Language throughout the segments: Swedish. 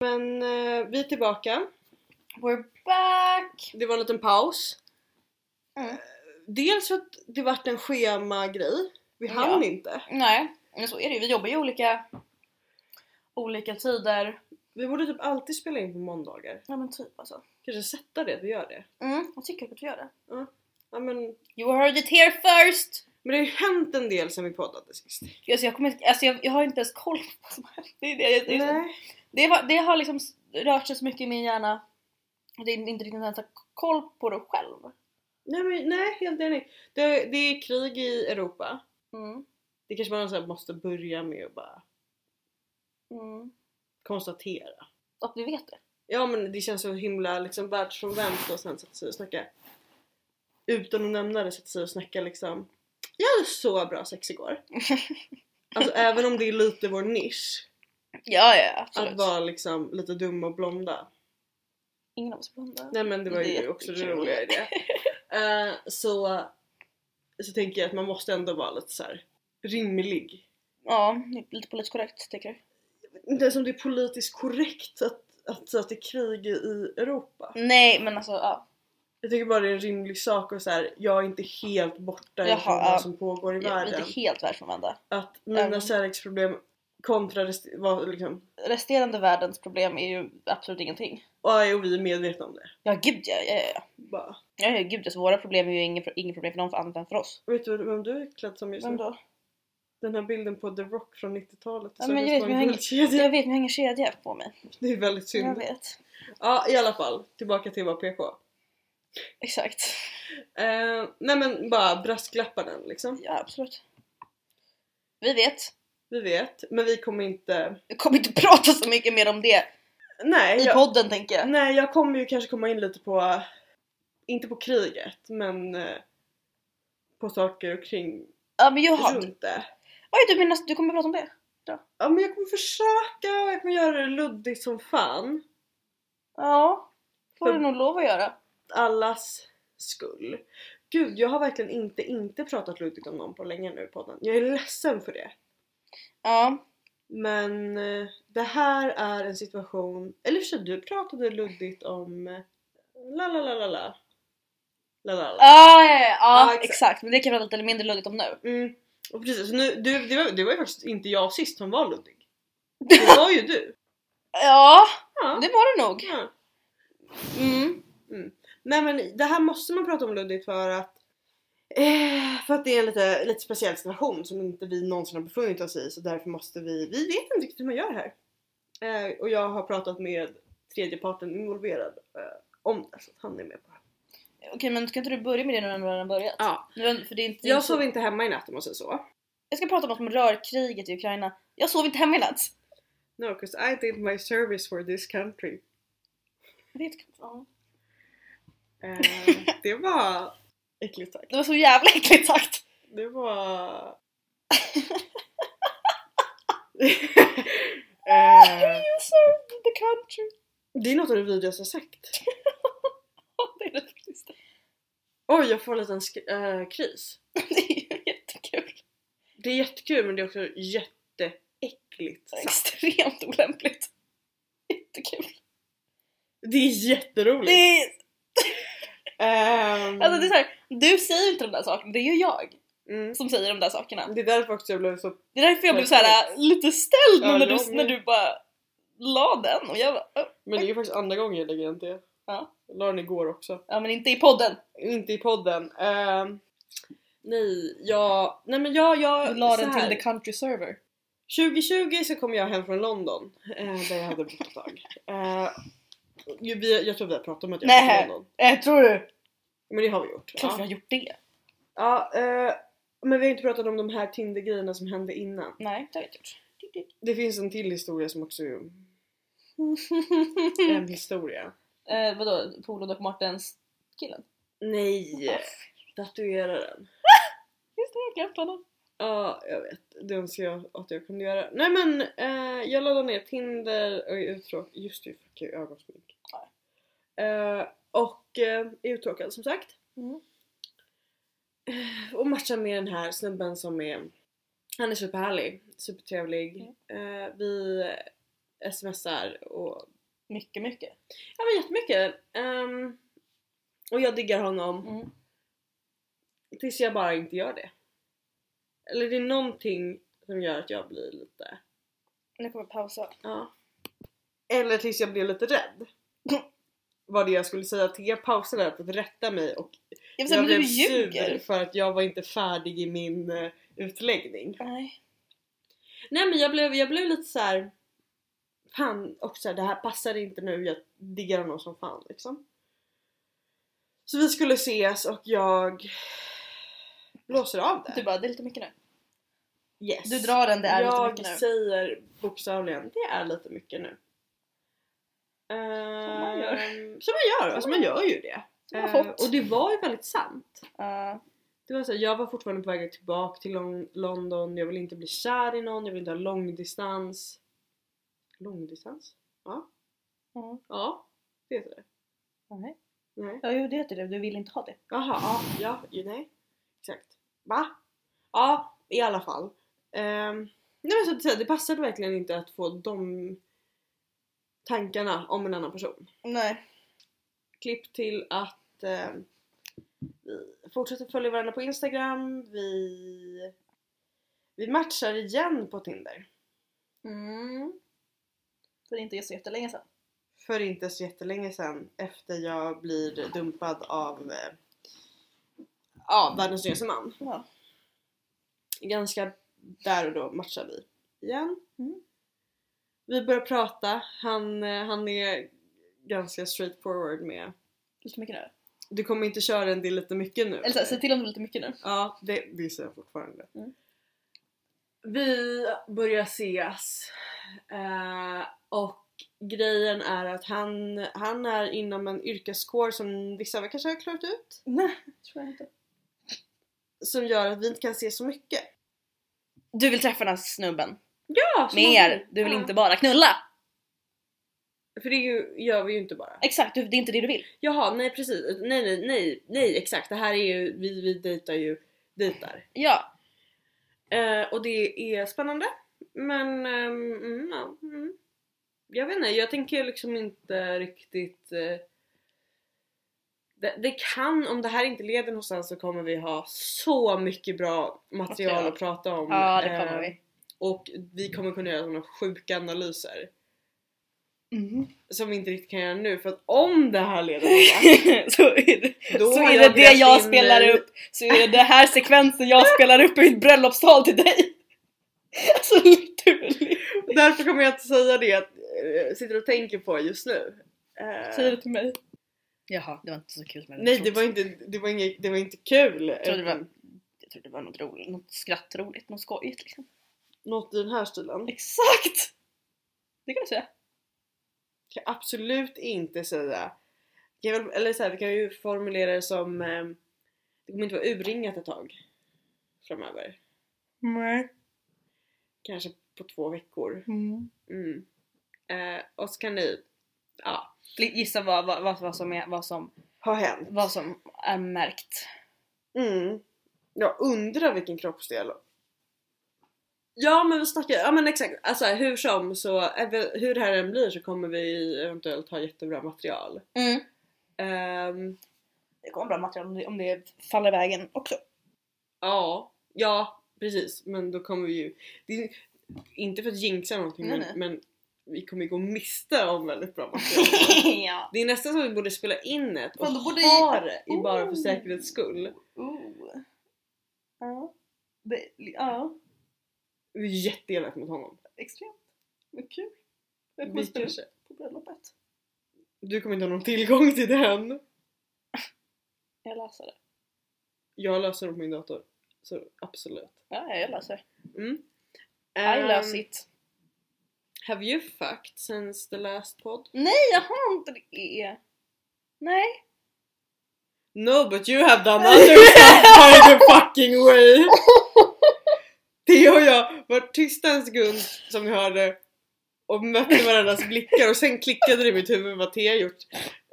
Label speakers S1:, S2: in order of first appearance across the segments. S1: Men eh, vi är tillbaka.
S2: We're back!
S1: Det var en liten paus.
S2: Mm.
S1: Dels för att det vart en schemagrej. Vi
S2: Ja.
S1: hann inte.
S2: Nej, men så är det ju. Vi jobbar ju olika, olika tider.
S1: Vi borde typ alltid spela in på måndagar.
S2: Ja men typ alltså.
S1: Kanske sätta det att vi gör det.
S2: Mm, jag tycker att vi gör det.
S1: Ja, men,
S2: You heard it here first!
S1: men det har ju hänt en del sen vi poddade sist.
S2: Alltså, jag, kommer, inte- alltså, jag, jag har inte ens koll på vad som händer. Det, är det, det, är-
S1: Nej.
S2: det, var- det har liksom rört sig så mycket i min hjärna. Det är inte riktigt ens har koll på det själv.
S1: Nej, men, nej helt enig. Det, det är krig i Europa.
S2: Mm.
S1: Det kanske man så här måste börja med att bara
S2: Mm.
S1: konstatera.
S2: Att vi vet det.
S1: Ja men det känns så himla liksom världsfrånvänt och sen sätta sig och snacka utan att nämna det sätta sig och snacka liksom Jag hade så bra sex igår. Alltså även om det är lite vår nisch
S2: Ja, ja
S1: att vara liksom lite dum och blonda.
S2: Ingen av oss är blonda.
S1: Nej men det var
S2: Det är
S1: ju också det
S2: jättekul.
S1: roliga i det. Eh, så, så tänker jag att man måste ändå vara lite så här rimlig.
S2: Ja, lite politiskt korrekt tycker jag.
S1: Inte som det är politiskt korrekt att, att, att det är krig i Europa.
S2: Nej men alltså ja.
S1: Jag tycker bara det är en rimlig sak och så här, jag är inte helt borta
S2: Jaha,
S1: ifrån
S2: ja.
S1: vad som pågår i
S2: Ja, Vi
S1: världen.
S2: är helt världsfrånvända.
S1: Att mina
S2: Även-
S1: kärleksproblem kontra rest- vad liksom,
S2: Resterande världens problem är ju absolut ingenting.
S1: och, ja, och vi är medvetna om det.
S2: Ja gud ja, ja, ja, ja.
S1: Bara,
S2: ja ja, gud, alltså, våra problem är ju inget inget problem för någon för annat än för oss.
S1: vet du vem du är klädd som just
S2: Vem
S1: nu?
S2: då?
S1: Den här bilden på The Rock från 90-talet.
S2: Ja,
S1: Så
S2: men
S1: det
S2: jag
S1: står
S2: vet,
S1: en
S2: men jag
S1: guldkedja.
S2: Alltså, Jag vet men jag har ingen kedja på mig.
S1: Det är väldigt
S2: Jag
S1: synd.
S2: vet.
S1: Ja i alla fall, tillbaka till vad PK.
S2: Exakt.
S1: Eh, nej men bara brasklappa den liksom.
S2: Ja absolut. Vi vet.
S1: Vi vet, men vi kommer inte...
S2: Jag kommer inte prata så mycket mer om det
S1: Nej,
S2: i
S1: jag,
S2: podden tänker jag.
S1: nej, jag kommer ju kanske komma in lite på, inte på kriget, men eh, på saker och kring
S2: Ja men Johan.
S1: runt det.
S2: Oj du menar du kommer prata om det?
S1: Ja men jag kommer försöka och jag kommer göra det luddigt som fan.
S2: Ja. Får
S1: För-
S2: du nog lov att göra.
S1: Allas skull. Gud, jag har verkligen inte inte pratat luddigt om någon på länge nu i podden. Jag är ledsen för det.
S2: Ja.
S1: Men eh, det här är en situation, eller så du pratade luddigt om eh, la la la la la. La la la.
S2: Ah, Ja, ja, ja, ja
S1: Ja,
S2: exakt.
S1: exakt.
S2: Men det kan vara lite mindre luddigt om nu.
S1: Mm. Och precis, nu, du, det, var, det var ju faktiskt inte jag sist som var luddig. Det var ju du.
S2: Ja,
S1: Ja.
S2: det var det nog.
S1: ja.
S2: Mm.
S1: Nej men det här måste man prata om luddigt för att eh, för att det är en lite, lite speciell situation som inte vi någonsin har befunnit oss i så därför måste vi, vi vet inte riktigt hur man gör här. Eh, och jag har pratat med tredje parten involverad eh, om det så att han är med på det.
S2: Okej men ska inte du börja med det nu när du redan har börjat?
S1: Ja.
S2: Nu, för det är inte,
S1: Jag sov inte hemma i natt om man säger så.
S2: jag ska prata om något som rör kriget i Ukraina. Jag sov inte hemma i natt.
S1: No, 'cause I did my service for this country.
S2: Jag vet knappt- ja.
S1: Eh, det var äckligt sagt.
S2: Det var så jävla äckligt sagt.
S1: Det var... eh,
S2: You served the country.
S1: det är något av det vidrigaste jag sagt.
S2: Ja, det är det faktiskt.
S1: Oj, jag får en liten sk- eh, kris.
S2: Det är ju jättekul.
S1: Det är jättekul men det är också jätteäckligt sagt.
S2: Extremt olämpligt. Jättekul.
S1: Det är jätteroligt.
S2: Det är,
S1: Ehm,
S2: alltså det är så här, du säger inte de där sakerna, det är ju jag
S1: mm.
S2: som säger de där sakerna.
S1: det är därför också jag blev så...
S2: Det är därför jag blev såhär lite ställd
S1: Ja,
S2: när,
S1: jag
S2: du,
S1: med.
S2: när du bara la den och jag bara "Ö,
S1: Men det är ju faktiskt andra gången jag lägger den till.
S2: Ja.
S1: Jag la den igår också.
S2: ja men inte i podden.
S1: Inte i podden. Ehm, nej, jag... Nej men jag...
S2: Du
S1: jag
S2: la
S1: så
S2: den till
S1: här.
S2: the country server.
S1: 2020 så kom jag hem från London eh, där jag hade bott ett tag. Eh, ju, vi, jag tror vi har pratat om att jag var
S2: Nej.
S1: i London.
S2: Äh, tror du?
S1: Men det har vi gjort.
S2: Klart vi
S1: Ja.
S2: har gjort det.
S1: Ja, eh, men vi har inte pratat om de här Tinder-grejerna som hände innan.
S2: Nej det har vi inte gjort.
S1: Det finns en till historia som också är
S2: Mm.
S1: en historia.
S2: eh, vadå Polon och Martens killen?
S1: Nej! Tatueraren.
S2: Just det, jag har glömt honom.
S1: Ja, jag vet. Det önskar jag att jag kunde göra. Nej men eh, jag laddade ner Tinder och är uttråkad. Just det, fuck jag har ögonsmink. Eh, och eh, är uttråkad som sagt.
S2: Mm.
S1: Eh, Och matchar med den här snubben som är Han är superhärlig, supertrevlig. Eh, vi eh, smsar och
S2: Mycket, mycket.
S1: Ja men jättemycket. Ehm, och jag diggar honom
S2: Mm.
S1: tills jag bara inte gör det. Eller det är någonting som gör att jag blir lite...
S2: Nu kommer jag pausa.
S1: Ja. Eller tills jag blev lite rädd.
S2: Mm.
S1: Var det jag skulle säga. Till jag pausade där för att rätta mig och
S2: Jag vill säga,
S1: jag
S2: men
S1: blev
S2: du
S1: sur
S2: ljuger!
S1: för att jag var inte färdig i min eh, utläggning.
S2: Nej.
S1: Nej men jag blev, jag blev lite så här. Fan också, det här passar inte nu, jag diggar honom som fan liksom. Så vi skulle ses och jag blåser av
S2: Du
S1: det.
S2: bara, det är lite mycket nu.
S1: Yes.
S2: Du drar den, det är
S1: jag
S2: lite mycket nu.
S1: säger bokstavligen, det är lite mycket nu. Ehm,
S2: man gör.
S1: Som man gör, alltså man gör ju det.
S2: Som man
S1: Ehm,
S2: fått.
S1: och det var ju väldigt sant.
S2: Uh,
S1: Det var så här, jag var fortfarande på väg tillbaka till Lon- London, jag vill inte bli kär i någon, jag vill inte ha långdistans. Långdistans?
S2: uh,
S1: Ja, det heter det.
S2: nej.
S1: Nej.
S2: Ja, jo, det heter det. Du vill inte ha det.
S1: Jaha, ja, ja, ju, nej. Exakt. Va? Ja, i alla fall. Ehm, nej men så att säga, det passade verkligen inte att få de tankarna om en annan person.
S2: Nej.
S1: Klipp till att ehm, vi fortsätter följa varandra på Instagram, vi, vi matchar igen på Tinder.
S2: Mm. För det är inte så jättelänge sedan.
S1: För inte så jättelänge sedan efter jag blir dumpad av eh, ja, världens snyggaste man.
S2: Ja.
S1: ganska där och då matchar vi igen.
S2: Mm.
S1: Vi börjar prata, han, eh, han är ganska straightforward med
S2: Lite mycket nu.
S1: Du kommer inte köra den, det är lite mycket nu.
S2: Eller så här, säg till om det är lite mycket nu.
S1: Ja, det, det säger jag fortfarande.
S2: Mm.
S1: Vi börjar ses eh, och grejen är att han, han är inom en yrkeskår som vissa av er kanske har klarat ut.
S2: Nej, tror jag inte.
S1: Som gör att vi inte kan se så mycket.
S2: Du vill träffa den här snubben.
S1: Ja, så man-
S2: Mer! Du vill
S1: ja.
S2: inte bara knulla!
S1: För det är ju- gör vi ju inte bara.
S2: Exakt, du- det är inte det du vill.
S1: Jaha, nej precis. Nej, nej, nej, nej exakt. Det här är ju, vi, vi dejtar ju, dejtar.
S2: Ja.
S1: Eh, och det är spännande. Men, ehm, mm, ja, mm. Jag vet inte, jag tänker liksom inte riktigt... Eh, det, det kan, om det här inte leder någonstans så kommer vi ha så mycket bra material
S2: Material.
S1: att prata om.
S2: Ja, det
S1: Eh,
S2: kommer vi.
S1: Och vi kommer kunna göra såna sjuka analyser.
S2: Mhm.
S1: Som vi inte riktigt kan göra nu för att om det här leder någonstans
S2: så är det
S1: då
S2: så
S1: har
S2: är det det
S1: grävt
S2: jag
S1: in
S2: spelar
S1: mig.
S2: upp, så är det det här sekvensen jag spelar upp i mitt bröllopstal till dig. Alltså naturligt.
S1: Därför kommer jag inte säga det jag eh, sitter och tänker på just nu. Eh,
S2: Säg det till mig. Äh. Jaha, det var inte så kul med
S1: nej det var inte, det var inget, det var inte kul.
S2: Jag trodde det var,
S1: utan
S2: jag trodde det var något roligt, något skrattroligt, något skojigt liksom.
S1: Något i den här stilen.
S2: Exakt! Det kan du säga.
S1: Kan jag absolut inte säga. Kan jag, väl- eller så här, vi kan ju formulera det som eh, det kommer inte vara urringat ett tag framöver.
S2: Nej.
S1: Kanske på två veckor.
S2: Mm.
S1: Mm. Eh, och så kan ni ja,
S2: Gissa vad, vad, vad, vad, som är, vad, som,
S1: ha hänt.
S2: vad som är märkt.
S1: Mm. Jag undrar vilken kroppsdel. Ja men vi snackar, ja men exakt. Alltså hur som så, ev- hur det här än blir så kommer vi eventuellt ha jättebra material.
S2: Mm.
S1: Ehm,
S2: Det kommer bra material om det, om det faller vägen också.
S1: ja, ja precis men då kommer vi ju, det är, inte för att jinxa någonting
S2: Nej,
S1: men,
S2: nej.
S1: men vi kommer ju gå miste om väldigt bra material.
S2: ja.
S1: det är nästan så att vi borde spela in ett och
S2: Fan, då borde-
S1: ha det i bara för
S2: Oh.
S1: säkerhets skull.
S2: Oh. Ja. Det, ja,
S1: Det är jätteelakt mot honom.
S2: extremt. Vad kul. Jag kommer
S1: Vi
S2: spela
S1: kanske,
S2: på bröllopet.
S1: du kommer inte ha någon tillgång till den.
S2: Jag läser det.
S1: Jag löser det på min dator. Så absolut.
S2: Ja, jag läser.
S1: Mm.
S2: I
S1: Um,
S2: löser it.
S1: Have you fucked since the last pod?
S2: Nej, jag har inte det. Nej.
S1: No but you have done other stuff by the fucking way! Theo och jag var tysta en sekund som ni hörde och mötte varandras blickar och sen klickade det i mitt huvud vad Theo gjort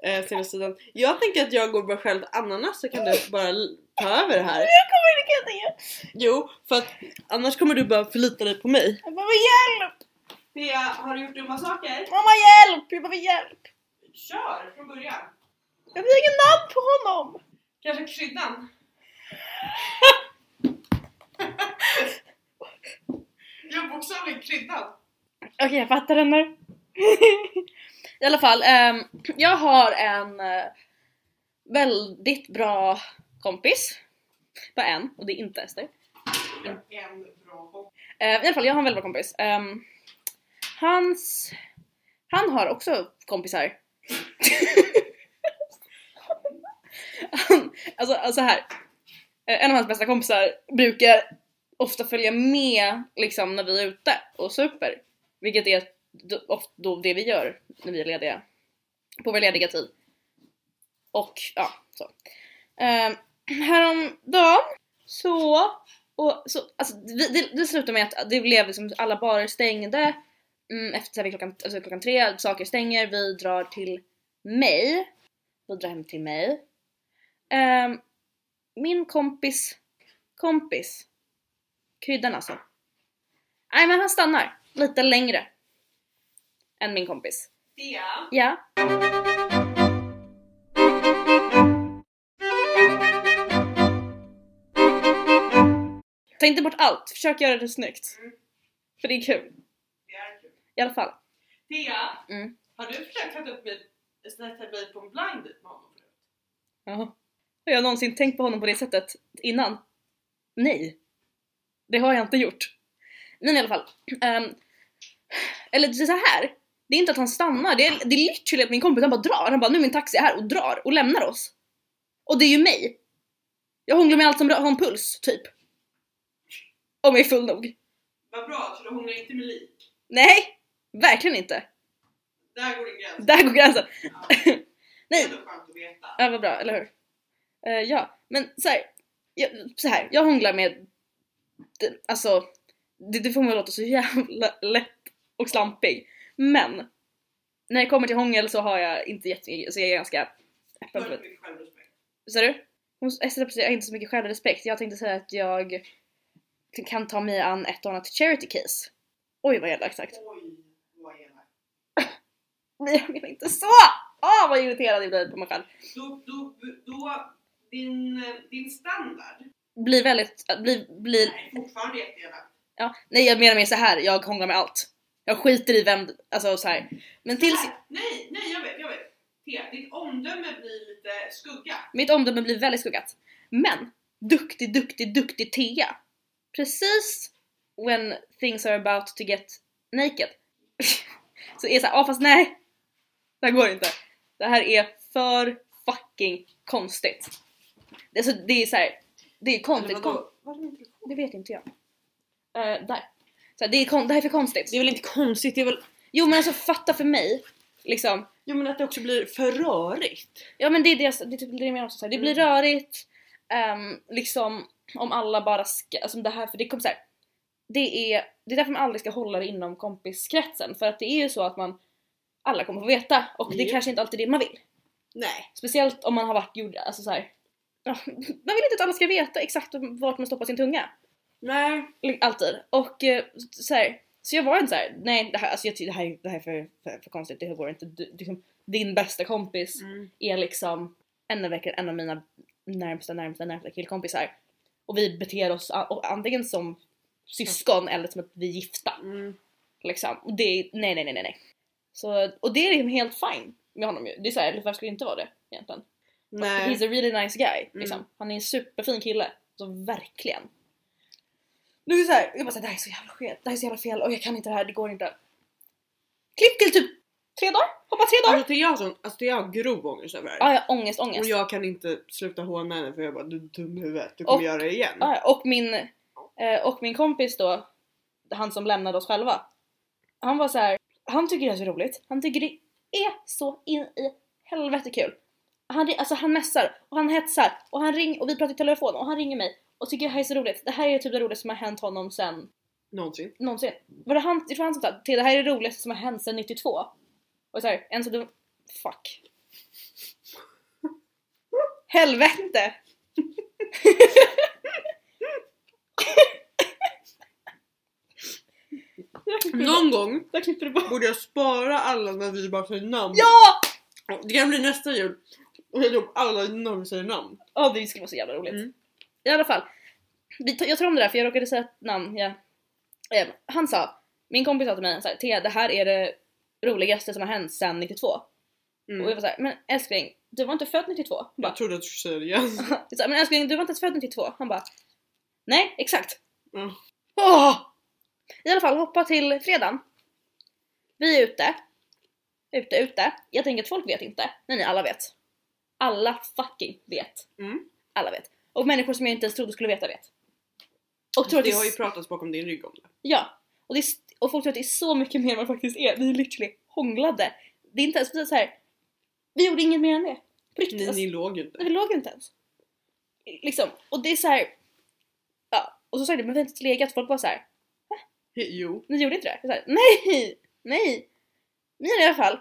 S1: eh, senaste tiden. Jag tänker att jag går bara själv ananas så kan du bara l- ta över det här.
S2: Jag kommer inte kunna det.
S1: Jo, för att annars kommer du bara förlita dig på mig.
S2: Jag behöver hjälp!
S1: Thea, har du gjort dumma saker?
S2: Mamma hjälp! Jag behöver hjälp!
S1: Kör från början.
S2: Jag har ingen namn på honom!
S1: Kanske kryddan? jag bokstavligen kryddan.
S2: Okej, jag fattar den nu. I alla fall, ehm, jag har en eh, väldigt bra kompis. Bara en, och det är inte Ester.
S1: En bra hopp.
S2: Eh, I alla fall, jag har en väldigt bra kompis. Ehm, hans... Han har också kompisar. han, alltså, alltså här. Eh, En av hans bästa kompisar brukar ofta följa med liksom när vi är ute och super. Vilket är d- ofta då det vi gör när vi är lediga. På vår lediga tid. Och ja, så. Um, häromdagen så och så, alltså, vi, det, det slutade med att det blev liksom, alla barer stängde mm, efter så här, vid klockan, alltså, klockan tre, saker stänger, vi drar till mig. Vi drar hem till mig. Ehm, min kompis, kompis, kryddan alltså. Nej men han stannar lite längre än min kompis.
S1: Thea,
S2: Ja. Ta inte bort allt, försök göra det snyggt.
S1: Mm.
S2: För det är kul.
S1: det är kul.
S2: I alla fall.
S1: Thea,
S2: Mm.
S1: har du försökt sätta upp mig, sätta mig på en blind date med honom förut?
S2: Ja. Har jag någonsin tänkt på honom på det sättet innan? Nej. Det har jag inte gjort. Men i alla fall. ehm, eller det är så här. Det är inte att han stannar, det är, det är literally att min kompis han bara drar. Han bara nu är min taxi här och drar och lämnar oss. Och det är ju mig. Jag hånglar med allt som rör, har en puls, typ. Om jag är full nog.
S1: Vad bra, för du hånglar inte med lik.
S2: Nej! Verkligen inte.
S1: Där går din gräns.
S2: Där går gränsen.
S1: Ja.
S2: Nej,
S1: Det är ändå skönt att veta.
S2: Ja, vad bra, eller hur? Eh, ja, men så här, jag, så här, jag hånglar med... Det, alltså, det, det får mig att låta så jävla lätt och slampig. Men! När det kommer till hångel så har jag inte jättemycket, så jag är ganska
S1: Du
S2: öppen
S1: har
S2: för
S1: inte mycket självrespekt.
S2: Ser du? Hon Esther precis, jag har inte så mycket självrespekt. Jag tänkte säga att jag kan ta mig an ett och annat charity case. Oj vad elakt sagt.
S1: Oj, vad elakt.
S2: Men jag menar inte så! Åh vad irriterad jag blir på mig själv.
S1: Då, då, då, din, din standard
S2: Blir väldigt, blir, blir
S1: är fortfarande jätteelakt.
S2: Ja, nej jag menar mer så här. jag hånglar med allt. Jag skiter i vem, alltså så här. Men tills,
S1: Nej, Nej, nej jag vet, jag vet. Thea, ditt omdöme blir lite skugga.
S2: mitt omdöme blir väldigt skuggat. Men, duktig, duktig, duktig Thea. Precis when things are about to get naked. så är det såhär, ja fast nej. Det här går inte. Det här är för fucking konstigt. Det, alltså, det är såhär, det är konstigt.
S1: Eller vadå?
S2: Kon- det vet inte jag. Eh, där. Så här, det, är kon- det här är för konstigt.
S1: Det är väl inte konstigt, det är väl...
S2: Jo men alltså fatta för mig, liksom.
S1: Jo men att det också blir för rörigt.
S2: Ja men det är det, jag- det, är typ det jag menar också, så här. det blir
S1: Mm.
S2: rörigt, ehm, liksom om alla bara ska, alltså det här, för det kommer så här. Det är, det är därför man aldrig ska hålla det inom kompiskretsen för att det är ju så att man alla kommer få veta och det
S1: Ja.
S2: kanske inte alltid är det man vill.
S1: Nej.
S2: Speciellt om man har varit gjord, alltså så här. Ja, man vill inte att alla ska veta exakt vart man stoppar sin tunga.
S1: Nej.
S2: Alltid. Och eh, så, här, så jag var inte så här. nej det här, alltså jag, ty- det här, är- det här är för, för, för konstigt, det här går inte. Du, liksom, din bästa kompis är liksom en av, verkligen en av mina närmsta, närmsta, närmsta killkompisar. Och vi beter oss a- och antingen som syskon eller som att vi är gifta.
S1: Mm.
S2: Liksom. Och det är, nej, nej, nej, nej, nej. Så, och det är liksom helt fine med honom ju. Det är såhär, eller varför skulle det inte vara det egentligen?
S1: Nej.
S2: He's a really nice guy. Liksom.
S1: Mm.
S2: Han är en superfin kille. Så verkligen. Nu är det så här, jag bara såhär, det här är så jävla skevt, det här är så jävla fel och jag kan inte det här, det går inte. Klipp till typ tre dagar, hoppa tre dagar.
S1: Alltså Thea har sån- alltså, Thea har grov ångest över det här.
S2: Ah, ja, ångest, ångest.
S1: Och jag kan inte sluta håna henne för jag bara du är dum i huvudet, du kommer
S2: Och-
S1: göra det igen.
S2: Ja, ja, och min, eh, och min kompis då, han som lämnade oss själva. Han var så här, han tycker det är så roligt. Han tycker det är så in i helvete kul. Han, ri- alltså han messar och han hetsar och han ringer och vi pratar i telefon och han ringer mig och tycker det här är så roligt. Det här är typ det roligaste som har hänt honom sen
S1: Någonsin.
S2: någonsin. Var det han, jag tror han som sa att det här är det roligaste som har hänt sen 92. Och så här, en så dum... Fuck. Helvete! klipper du bort.
S1: Någon gång
S2: Där klipper du bort.
S1: borde jag spara alla när vi bara säger namn.
S2: Ja!
S1: Det kan bli nästa jul. Och jag upp alla när vi säger namn.
S2: Ja det skulle vara så jävla roligt.
S1: Mm.
S2: I alla fall. Vi tar, jag tar om det där för jag råkade säga ett namn. Ja. Eh, han sa, min kompis sa till mig så här, Thea det här är det roligaste som har hänt sedan 92. Och jag
S1: Mm.
S2: var såhär, men älskling du var inte född 92. Han bara,
S1: Jag trodde att du skulle säga det igen.
S2: Jag sa, men älskling du var inte ens född 92. Han bara, nej exakt.
S1: Mm.
S2: Åh! I alla fall hoppa till fredagen. Vi är ute. Ute, ute. Jag tänker att folk vet inte. Nej, nej, alla vet. Alla fucking vet.
S1: Mm.
S2: Alla vet. Och människor som jag inte ens trodde skulle veta vet. Och, tror att
S1: Alltså, Det
S2: det
S1: har ju
S2: är,
S1: pratats bakom din rygg om det.
S2: ja, och, det är, st- och folk tror att det är så mycket mer än vad det faktiskt är. Vi är literally hånglade. Det är inte ens precis så här. vi gjorde inget mer än det. På riktigt.
S1: Ni,
S2: alltså.
S1: ni låg ju
S2: Nej,
S1: inte.
S2: vi låg inte ens. Liksom, och det är så här. Ja, och så sa jag det, men vi har inte legat. Folk bara så här.
S1: He- Jo.
S2: ni gjorde inte det? Jag sa, nej! Nej! Ni i alla fall.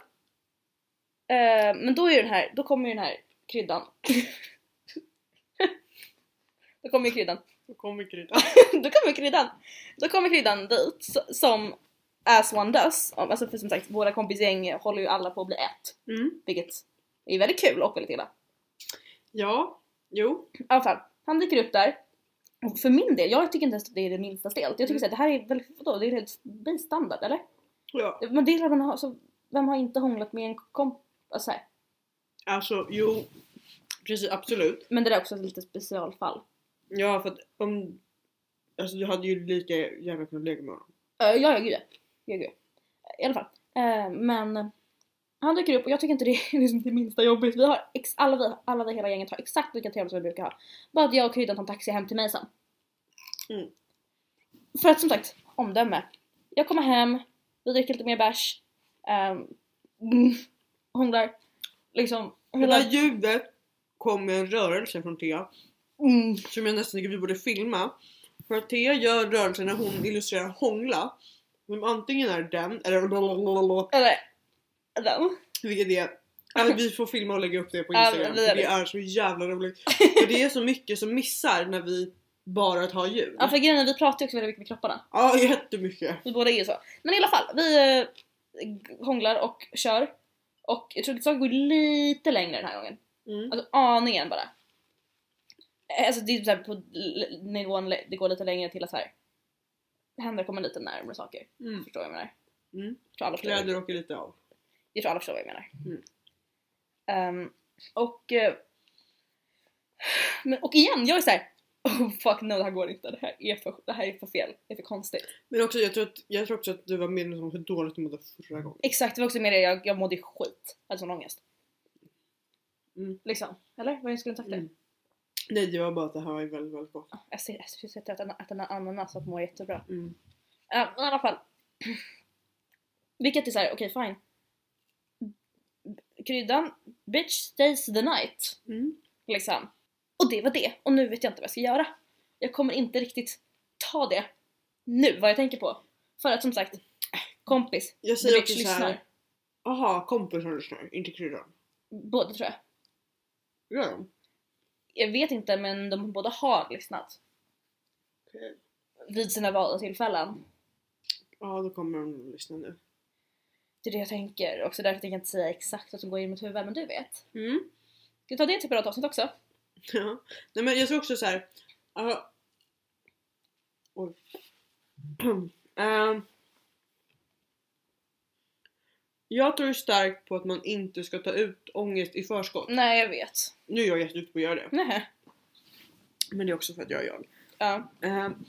S2: Eh, men då är ju den här, då kommer ju den här kryddan. då kommer ju kryddan.
S1: Då kommer kryddan.
S2: då kommer kryddan. Då kommer kryddan dit s- som as one does. Alltså för som sagt, våra kompisgäng håller ju alla på att bli ett.
S1: Mm.
S2: Vilket är väldigt kul och väldigt illa.
S1: Ja. Jo.
S2: I alla fall, han dyker upp där. Och För min del, jag tycker inte ens att det är det minsta stelt. Jag tycker så här, det här är väl, vadå, det är helt bistandard eller?
S1: Ja.
S2: Men det är klart man har, så vem har inte hånglat med en kompis? Alltså så här.
S1: Alltså jo. Precis, absolut.
S2: men det där är också ett litet specialfall.
S1: Ja för att om... Alltså du hade ju lika gärna kunnat leka med honom.
S2: Uh, ja, ja, gud ja. ja, gud. ja. I alla fall. Eh, men han dyker upp och jag tycker inte det är liksom det minsta jobbigt. Vi har ex- alla, vi, alla vi hela gänget har exakt lika trevligt som vi brukar ha. Bara att jag och Kryddan tar en taxi hem till mig sen.
S1: Mm.
S2: För att som sagt, omdöme. Jag kommer hem, vi dricker lite mer bärs. Um, hånglar. Liksom.
S1: Det
S2: Hela,
S1: där ljudet kom med en rörelse från Thea.
S2: mm,
S1: som jag nästan tycker vi borde filma. För att Thea gör rörelsen när hon illustrerar hångla. Som antingen är den, eller blablabla,
S2: eller. Den.
S1: vilket är... Alltså, vi får filma och lägga upp det på
S2: Ja,
S1: Instagram.
S2: vi gör
S1: för det
S2: det.
S1: är så jävla roligt. För det är så mycket som missar när vi bara tar ljud.
S2: Ja för grejen är, vi pratar ju också väldigt mycket med kropparna.
S1: Ja, jättemycket.
S2: Vi båda är ju så. Men i alla fall, vi eh, g- hånglar och kör. Och jag tror att saker går lite längre den här gången.
S1: Mm.
S2: Alltså aningen bara. Eh, Alltså det är typ såhär på l- l- nivån, le- det går lite längre till att såhär händer kommer lite närmare saker.
S1: Mm.
S2: Förstår du vad jag menar?
S1: Mm.
S2: Jag tror alla förstår,
S1: Kläder åker lite av.
S2: jag tror alla förstår vad jag menar.
S1: Mm.
S2: Ehm, och, eh, men, och igen, jag är såhär Oh fuck no det här går inte, det här är för, det här är för fel, det är för konstigt.
S1: Men också, jag, tror att, jag tror också att du var medveten om hur dåligt du mådde förra gången.
S2: Exakt, det var också mer det jag, jag mådde skit. Jag hade sån ångest.
S1: Mm.
S2: Liksom. Eller? Vad jag skulle sagt det?
S1: Mm. Nej, det var bara att det här var ju väldigt, väldigt gott.
S2: Jag ser jag ser- jag ser att en- att en ananas att må jättebra.
S1: Mm.
S2: Uh, I alla fall. Vilket är såhär, okej fine. Kryddan, bitch stays the night.
S1: Mm.
S2: Liksom. Och det var det. Och nu vet jag inte vad jag ska göra. Jag kommer inte riktigt ta det nu, vad jag tänker på. För att som sagt, kompis,
S1: Jag
S2: the
S1: säger
S2: bitch
S1: också så här.
S2: lyssnar.
S1: Aha, kompisar lyssnar, inte kryddan.
S2: Båda tror jag.
S1: Gör de?
S2: jag vet inte men de båda har lyssnat
S1: Okej.
S2: vid sina valda tillfällen.
S1: Ja, då kommer de att lyssna nu.
S2: Det är det jag tänker också därför tänker jag inte säga exakt vad som går in i mitt huvud men du vet.
S1: Mm.
S2: Ska vi ta det till ett separat avsnitt också?
S1: Ja. Nej men jag tror också så här. ja. Oj. Ehm. jag tror starkt på att man inte ska ta ut ångest i förskott.
S2: Nej jag vet.
S1: Nu är jag jätteduktig på att göra det.
S2: Nej.
S1: Men det är också för att jag är jag.
S2: Ja.
S1: Ehm,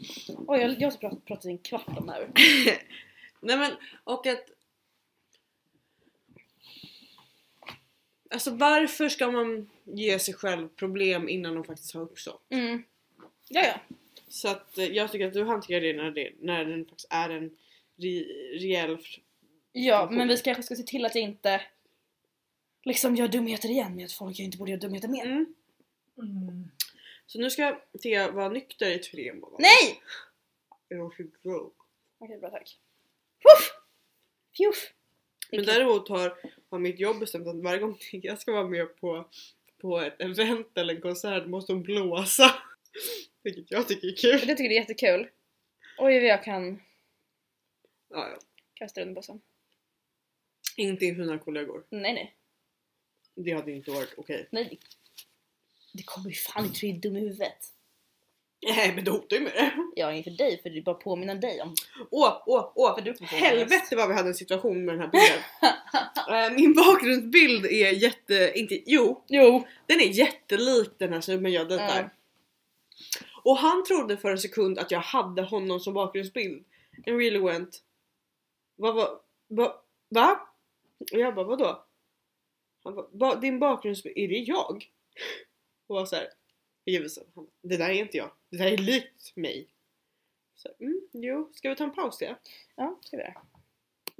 S2: Oj jag, jag har pratat, pratat i en kvart om det här.
S1: nej men och att... Alltså varför ska man ge sig själv problem innan de faktiskt har uppstått?
S2: Mm. Ja ja.
S1: Så att eh, jag tycker att du hanterar det när, det, när den faktiskt är en re, rejäl... f-
S2: Ja men vi kanske ska se till att jag inte liksom gör dumheter igen med att folk jag inte borde göra dumheter med.
S1: Mm. Så nu ska Thea vara nykter i tre månader.
S2: Nej!
S1: Jag should grow.
S2: Okej bra tack. Woof! Fjuff!
S1: Men däremot har, har mitt jobb bestämt att varje gång Thea ska vara med på, på ett event eller en konsert måste hon blåsa. Vilket jag tycker är kul.
S2: Jag tycker det är jättekul. Oj vad jag kan
S1: Ja, ja.
S2: kastar under bussen.
S1: Inte inför dina kollegor.
S2: Nej nej.
S1: Det hade ju inte varit okej.
S2: nej. det- Det kommer ju fan inte, du är dum i huvudet.
S1: Nej men du hotar ju med det.
S2: Jag är inför dig för det är bara att påminna dig om
S1: Åh, åh, åh!
S2: För du kommer på
S1: Helvete vad vi hade en situation med den här bilden. Eh, Min bakgrundsbild är jätte... Inte, jo,
S2: Jo!
S1: den är jättelik den här snubben jag dejtar.
S2: Mm.
S1: Och han trodde för en sekund att jag hade honom som bakgrundsbild. And really went... Vad var... Va? va? Och jag bara vadå? Han bara, "Va, din bakgrundsbild, är det jag? Och var såhär... Givetvis. Han bara, Det där är inte jag. Det där är likt mig. Så, mm, jo, ska vi ta en paus det?
S2: Ja, ska vi göra.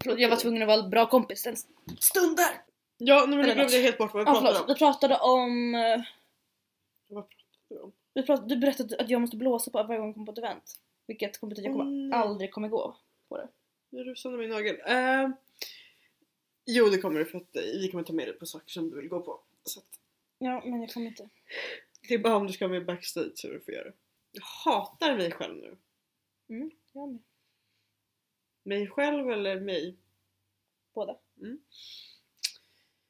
S2: Förlåt, jag var tvungen att vara en bra kompis en stund där.
S1: Ja, nej, men nu
S2: Eller
S1: glömde
S2: något.
S1: jag helt bort vad vi
S2: Ja,
S1: pratade
S2: förlåt.
S1: om.
S2: Vi pratade om... eh,
S1: Vad pratade vi om?
S2: Vi pratade, du berättade att jag måste blåsa på varje gång jag kommer på ett event. Vilket kommer betyda att jag
S1: Åh,
S2: kommer,
S1: nej.
S2: aldrig kommer gå.
S1: Nu rusade min nagel. Eh, jo, det kommer du för att eh, vi kommer ta med dig på saker som du vill gå på. Så att,
S2: Ja, men jag kommer inte.
S1: det är bara om du ska med backstage så du får göra det. Jag hatar mig själv nu.
S2: Mm, Jag med.
S1: Mig själv eller mig?
S2: Båda.
S1: Mm.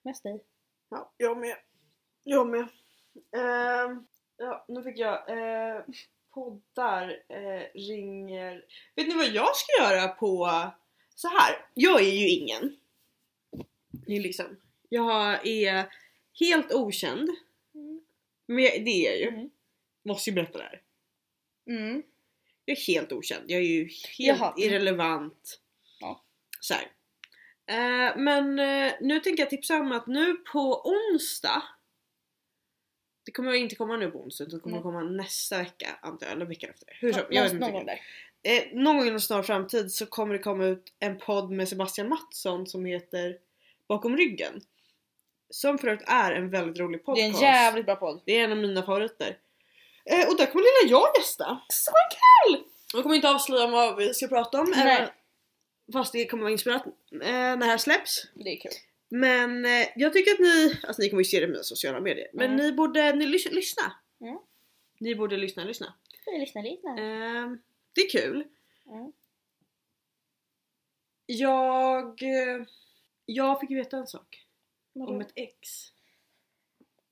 S2: Mest dig.
S1: Ja, jag med. Jag med. Eh, ja, nu fick jag eh, poddar, eh, ringer. Vet ni vad jag ska göra på så här? Jag är ju ingen. Det är liksom. Jag är helt okänd.
S2: Mm.
S1: Men jag, det är jag ju.
S2: Mm.
S1: Måste ju berätta det här.
S2: Mm.
S1: Jag är helt okänd. Jag är ju helt
S2: Jaha.
S1: irrelevant.
S2: Ja.
S1: Så här. Eh, men eh, nu tänker jag tipsa om att nu på onsdag det kommer jag inte komma nu på onsdag utan det kommer
S2: Nej.
S1: komma nästa vecka antar jag, eller veckan efter. Hur som,
S2: Nå-
S1: jag vet
S2: någon gång
S1: inte.
S2: där.
S1: Eh, någon gång i en snar framtid så kommer det komma ut en podd med Sebastian Mattsson som heter Bakom ryggen. Som förut är en väldigt rolig
S2: Det är
S1: podcast.
S2: en jävligt bra podd.
S1: Det är en av mina favoriter. Eh, och där kommer lilla jag gästa.
S2: Så
S1: kul! Jag kommer inte avslöja vad vi ska prata om.
S2: Nej.
S1: även Fast det kommer vara inspirerat eh, när det här släpps.
S2: Det är kul.
S1: Men eh, jag tycker att ni, alltså ni kommer ju se det på mina sociala medier. Men
S2: Mm.
S1: ni borde, ni lys- lyssna.
S2: Mm.
S1: Ni borde lyssna, lyssna.
S2: Lyssna lite.
S1: Ehm, det är kul.
S2: Mm.
S1: Jag, eh, jag fick ju veta en sak. Om ett ex.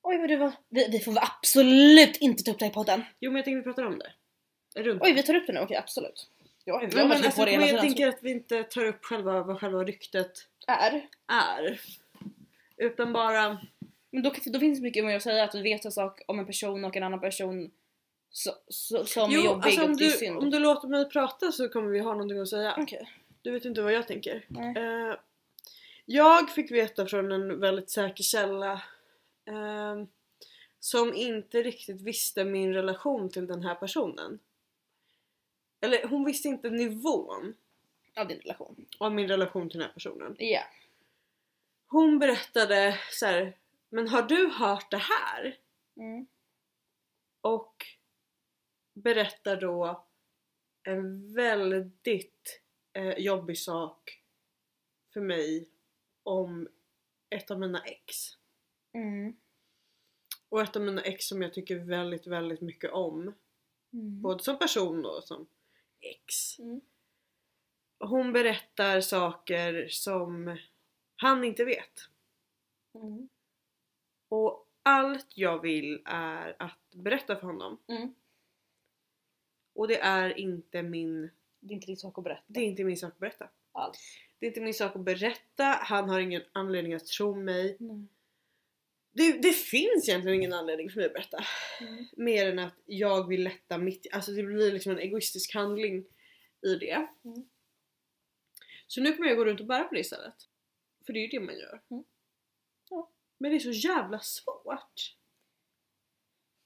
S2: Oj vad du var... Vi, vi får absolut inte ta upp det här i podden.
S1: Jo men jag tänkte vi pratar om det. Runt
S2: Oj vi tar upp det nu, okej absolut. Ja, jag
S1: Ja,
S2: har
S1: men
S2: varit
S1: alltså,
S2: på det hela
S1: men jag
S2: tiden.
S1: tänker att vi inte tar upp själva, vad själva ryktet
S2: Är.
S1: är. Utan bara...
S2: Men då, då finns det mycket mer att säga att vi vet en sak om en person och en annan person så, så, som är jobbig
S1: alltså, om,
S2: och det är
S1: du,
S2: synd.
S1: om du låter mig prata så kommer vi ha någonting att säga.
S2: Okej.
S1: Du vet inte vad jag tänker.
S2: Nej.
S1: Eh, jag fick veta från en väldigt säker källa ehm, som inte riktigt visste min relation till den här personen. Eller hon visste inte nivån
S2: Av din relation.
S1: av min relation till den här personen.
S2: Ja.
S1: Hon berättade så här. Men har du hört det här?
S2: Mm.
S1: och berättar då en väldigt eh, jobbig sak för mig om ett av mina ex.
S2: Mm.
S1: Och ett av mina ex som jag tycker väldigt, väldigt mycket om.
S2: Mm.
S1: Både som person och som ex.
S2: Mm.
S1: Hon berättar saker som han inte vet.
S2: Mm.
S1: Och allt jag vill är att berätta för honom.
S2: Mm.
S1: Och det är inte min,
S2: Det är inte din sak att berätta
S1: det är inte min sak att berätta.
S2: alls.
S1: Det är inte min sak att berätta, han har ingen anledning att tro mig.
S2: Mm.
S1: Det, det finns egentligen ingen anledning för mig att berätta.
S2: Mm.
S1: Mer än att jag vill lätta mitt... Alltså det blir liksom en egoistisk handling i det.
S2: Mm.
S1: Så nu kommer jag gå runt och bära på det istället. För det är ju det man gör.
S2: Mm. Ja.
S1: Men det är så jävla svårt.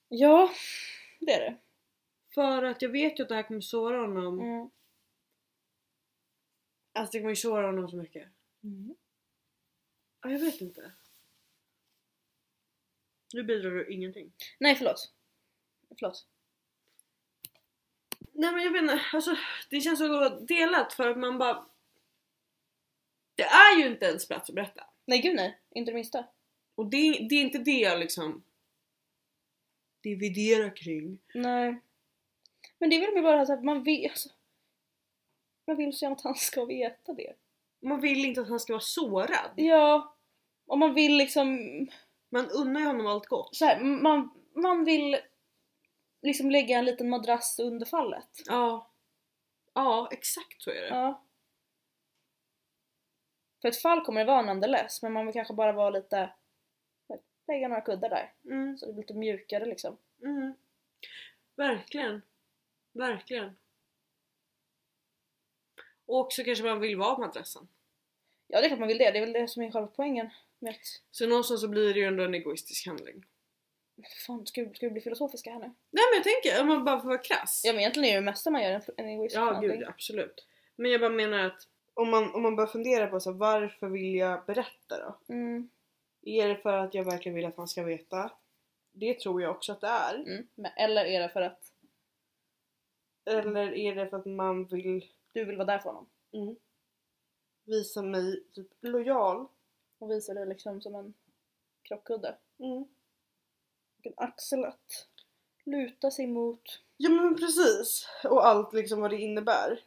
S2: Ja, det är det.
S1: För att jag vet ju att det här kommer såra honom.
S2: Mm.
S1: Alltså det kommer ju såra honom så mycket.
S2: Mm.
S1: Ja, jag vet inte. Nu bidrar du ingenting.
S2: Nej förlåt. Förlåt.
S1: Nej men jag vet inte, alltså, det känns så delat för att man bara... Det är ju inte ens plats att berätta.
S2: Nej gud nej, inte det minsta.
S1: Och det, det är inte det jag liksom dividerar kring.
S2: Nej. Men det är väl mer bara så att man vill... Alltså, man vill så gärna att han ska veta det.
S1: Man vill inte att han ska vara sårad.
S2: Ja, och man vill liksom...
S1: Man unnar ju honom allt gott.
S2: Så här, man, man vill liksom lägga en liten madrass under fallet.
S1: Ja. Ja, exakt så är det.
S2: Ja. För ett fall kommer det vara nonetheless, men man vill kanske bara vara lite... Lägga några kuddar där,
S1: Mm,
S2: så det blir lite mjukare liksom.
S1: mm. Verkligen. Verkligen. Och också kanske man vill vara på madrassen.
S2: Ja, det är klart man vill det. Det är väl det som är själva poängen med att...
S1: Så någonstans så blir det ju ändå en egoistisk handling.
S2: Fan, ska vi, ska vi bli filosofiska här nu?
S1: Nej men jag tänker, om man bara får vara krass.
S2: Ja, men egentligen är det mesta man gör en, en egoistisk
S1: Ja,
S2: handling.
S1: gud absolut. Men jag bara menar att om man, om man börjar fundera på så här, varför vill jag berätta då?
S2: Mm,
S1: Är det för att jag verkligen vill att han ska veta? Det tror jag också att det är.
S2: mm. Men, eller är det för att
S1: Eller är det för att man vill
S2: du vill vara där för honom?
S1: visa mig typ lojal?
S2: Och visa dig liksom som en krockkudde.
S1: Mm.
S2: Och en axel att luta sig mot.
S1: Ja men precis. Och allt liksom vad det innebär.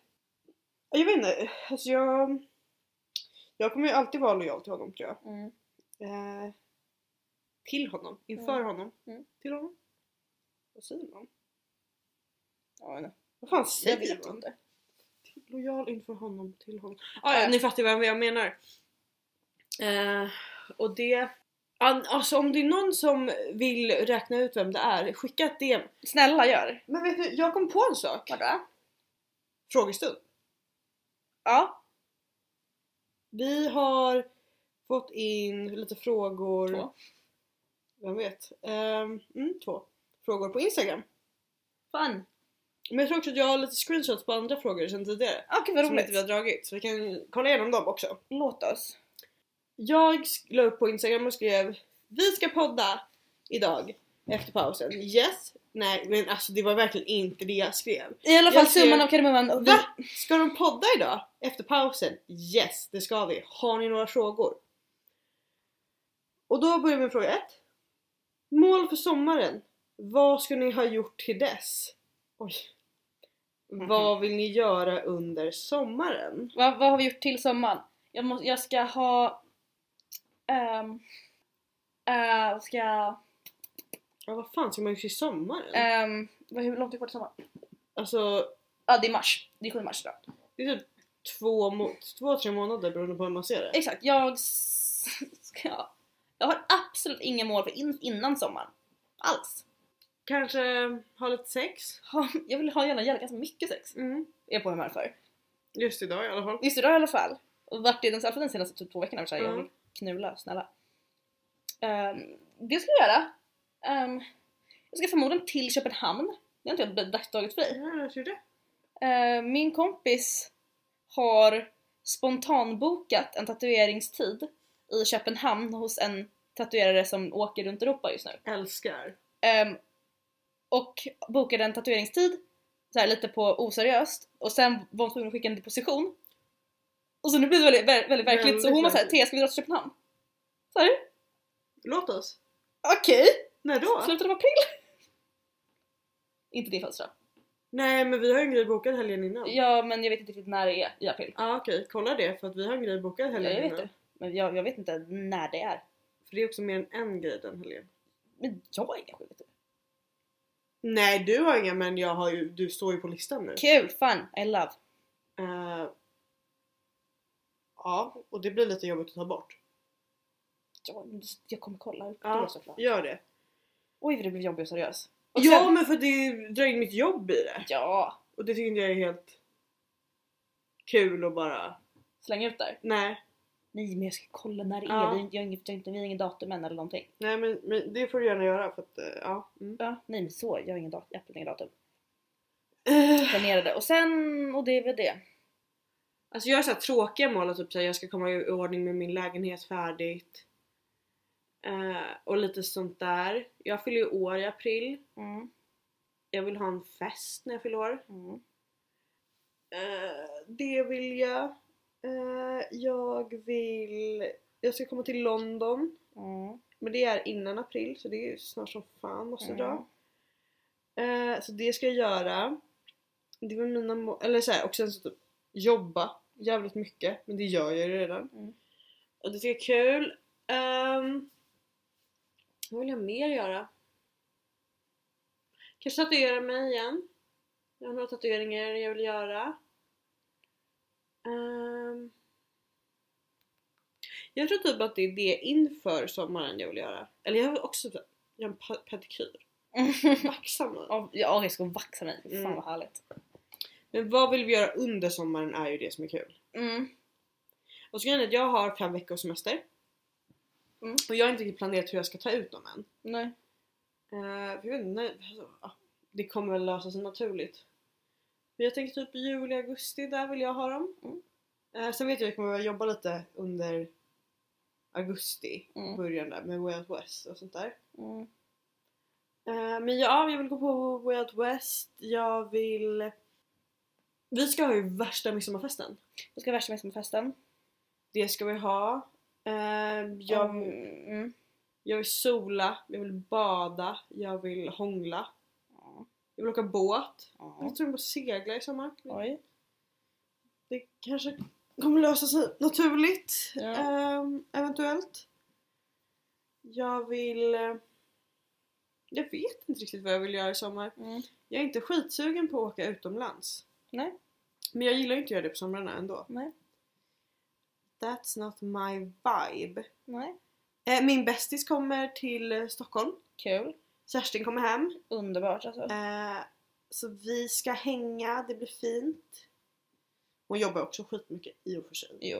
S1: Jag vet inte, alltså jag... Jag kommer ju alltid vara lojal till honom tror jag.
S2: Mm.
S1: Eh, till honom, inför
S2: Mm.
S1: honom.
S2: Mm.
S1: Till honom. Vad säger man?
S2: Ja, jag vet
S1: Vad fan
S2: inte. Jag
S1: säger
S2: vet
S1: man?
S2: inte.
S1: Lojal inför honom, till honom. Ah, ja,
S2: Ja.
S1: ni fattar vad jag menar. Eh, och det... An, alltså om det är någon som vill räkna ut vem det är, skicka ett DM.
S2: Snälla gör!
S1: Men vet du, jag kom på en sak.
S2: Vadå?
S1: Frågestund.
S2: Ja,
S1: Vi har fått in lite frågor.
S2: Två.
S1: Vem vet? Ehm, mm, två. Frågor på Instagram.
S2: fan.
S1: Men jag tror också att jag har lite screenshots på andra frågor sedan tidigare.
S2: Ah, Okej vad
S1: Som inte vi
S2: roligt.
S1: har dragit. Så vi kan kolla igenom dem också.
S2: Låt oss.
S1: Jag sk- la upp på Instagram och skrev Vi ska podda idag efter pausen. Yes. Nej men alltså det var verkligen inte det jag skrev.
S2: I alla fall
S1: Jag ser-
S2: summan av kardemumman.
S1: Va? Ska de podda idag? Efter pausen? Yes, det ska vi. Har ni några frågor? Och då börjar vi med fråga ett. Mål för sommaren. Vad ska ni ha gjort till dess? Oj. Vad vill ni göra under sommaren?
S2: Vad, vad har vi gjort till sommaren? Jag, måste, jag ska ha... ehm, eh, vad ska jag...
S1: Ja, vad fan ska man göra till sommaren?
S2: ehm, vad, hur långt är det kvar till sommaren? Ja
S1: Alltså,
S2: ah, det är mars. Det är 7 mars idag.
S1: det är typ två, må- två, tre månader beroende på hur man ser det.
S2: Exakt, jag s- ska... Jag har absolut inga mål för in, innan sommaren. Alls.
S1: Kanske ha lite sex?
S2: Ha, jag vill ha gärna, gärna ganska mycket sex.
S1: Mm.
S2: Är jag på humör för.
S1: Just idag i alla fall.
S2: Just idag i alla fall. Och Vart är den, i alla fall den senaste typ två veckorna? Så här, Jag
S1: Mm.
S2: vill knulla, snälla. Ehm, det ska jag göra. Ehm, jag ska förmodligen till Köpenhamn. Det har inte jag d- d- tagit fri.
S1: Ja, jag tror det.
S2: Eh, min kompis har spontanbokat en tatueringstid i Köpenhamn hos en tatuerare som åker runt Europa just nu.
S1: Älskar.
S2: Ehm, och bokade en tatueringstid så här lite på oseriöst och sen var hon tvungen att skicka en deposition. Och så nu blir det väldigt, väldigt, väldigt verkligt så
S1: Väldigt
S2: hon var såhär
S1: verkligt.
S2: Thea ska vi dra till Köpenhamn?
S1: Låt oss.
S2: Okej!
S1: När då?
S2: Slutet av april! inte det fönstret.
S1: Nej men vi har en grej bokad helgen innan. Ja
S2: Ja men jag vet inte riktigt när det är i april.
S1: okej, kolla det för att vi har en grej bokad
S2: Ja,
S1: helgen
S2: jag vet
S1: innan.
S2: det. Men jag, jag vet inte när det är.
S1: För det är också mer än en grej den helgen.
S2: Men jag har inga skyldigheter.
S1: Nej du har inga men jag har ju, du står ju på listan nu.
S2: Kul, fun, I love.
S1: Eh, ja och det blir lite jobbigt att ta bort.
S2: Jag, jag kommer kolla.
S1: Ja.
S2: Ja. Såklart.
S1: Gör det.
S2: Oj vad det blev jobbigt och seriös. Och
S1: Ja
S2: sen-
S1: men för det drar in mitt jobb i det.
S2: ja!
S1: Och det tycker inte jag är helt kul och bara
S2: Släng ut där.
S1: nej.
S2: Nej men jag ska kolla när det är.
S1: Ja.
S2: Vi, jag, har inget- jag, har inte- vi har ingen datum än eller någonting.
S1: Nej men, men det får du gärna göra för att eh, ja. Mm.
S2: Ja. Nej men så, jag har ingen datum. Absolut ingen datum.
S1: Eh,
S2: Planerade. Och sen, och det är väl det.
S1: Alltså jag har så här tråkiga mål, typ såhär, jag ska komma i ordning med min lägenhet färdigt. Eh, och lite sånt där. Jag fyller ju år i april.
S2: Mm.
S1: Jag vill ha en fest när jag fyller år.
S2: Mm.
S1: Eh, det vill jag. Eh, jag vill... Jag ska komma till London.
S2: Mm.
S1: Men det är innan april så det är ju snart som fan måste
S2: Mm.
S1: jag dra. Eh, så det ska jag göra. Det var mina mål. Eller såhär, och sen så typ jobba. jävligt mycket. Men det gör jag ju redan.
S2: Mm.
S1: Och det tycker jag är kul. Ehm, vad vill jag mer göra? Kanske tatuera mig igen. Jag har några tatueringar jag vill göra. Ehm, jag tror typ att det är det inför sommaren jag vill göra. Eller jag vill också göra en pa- pedikyr. Vaxa mig.
S2: Ja, ja, jag ska vaxa mig. Fan
S1: Mm.
S2: vad härligt.
S1: Men vad vill vi göra under sommaren är ju det som är kul.
S2: Mm.
S1: Och så grejen är att jag har fem veckors semester.
S2: Mm.
S1: Och jag har inte riktigt planerat hur jag ska ta ut dem än.
S2: Nej.
S1: Eh, för jag vet inte, nej, alltså, ja, det kommer väl lösa sig naturligt. Men jag tänker typ i juli, augusti, där vill jag ha dem.
S2: Mm.
S1: Eh, sen vet jag att jag kommer behöva jobba lite under augusti,
S2: Mm.
S1: början där med Way Out West och sånt där.
S2: Mm.
S1: Eh, men ja, jag vill gå på Way Out West, jag vill... Vi ska ha ju värsta midsommarfesten.
S2: Jag ska värsta midsommarfesten.
S1: Det ska vi ha. Eh, jag...
S2: Mm.
S1: Jag vill sola, jag vill bada, jag vill hångla. Jag vill åka båt.
S2: Ja.
S1: Jag tror jag vill segla i sommar.
S2: Oj.
S1: Det kanske kommer lösa sig naturligt.
S2: Ja.
S1: ehm, eventuellt. Jag vill... eh, Jag vet inte riktigt vad jag vill göra i sommar.
S2: Mm.
S1: Jag är inte skitsugen på att åka utomlands.
S2: Nej.
S1: Men jag gillar ju inte att göra det på somrarna ändå.
S2: Nej.
S1: That's not my vibe.
S2: Nej.
S1: Eh, min bästis kommer till eh, Stockholm.
S2: Kul.
S1: Kerstin kommer hem.
S2: Underbart alltså.
S1: Eh, så vi ska hänga, det blir fint. Hon jobbar också skitmycket i och för sig.
S2: Jo.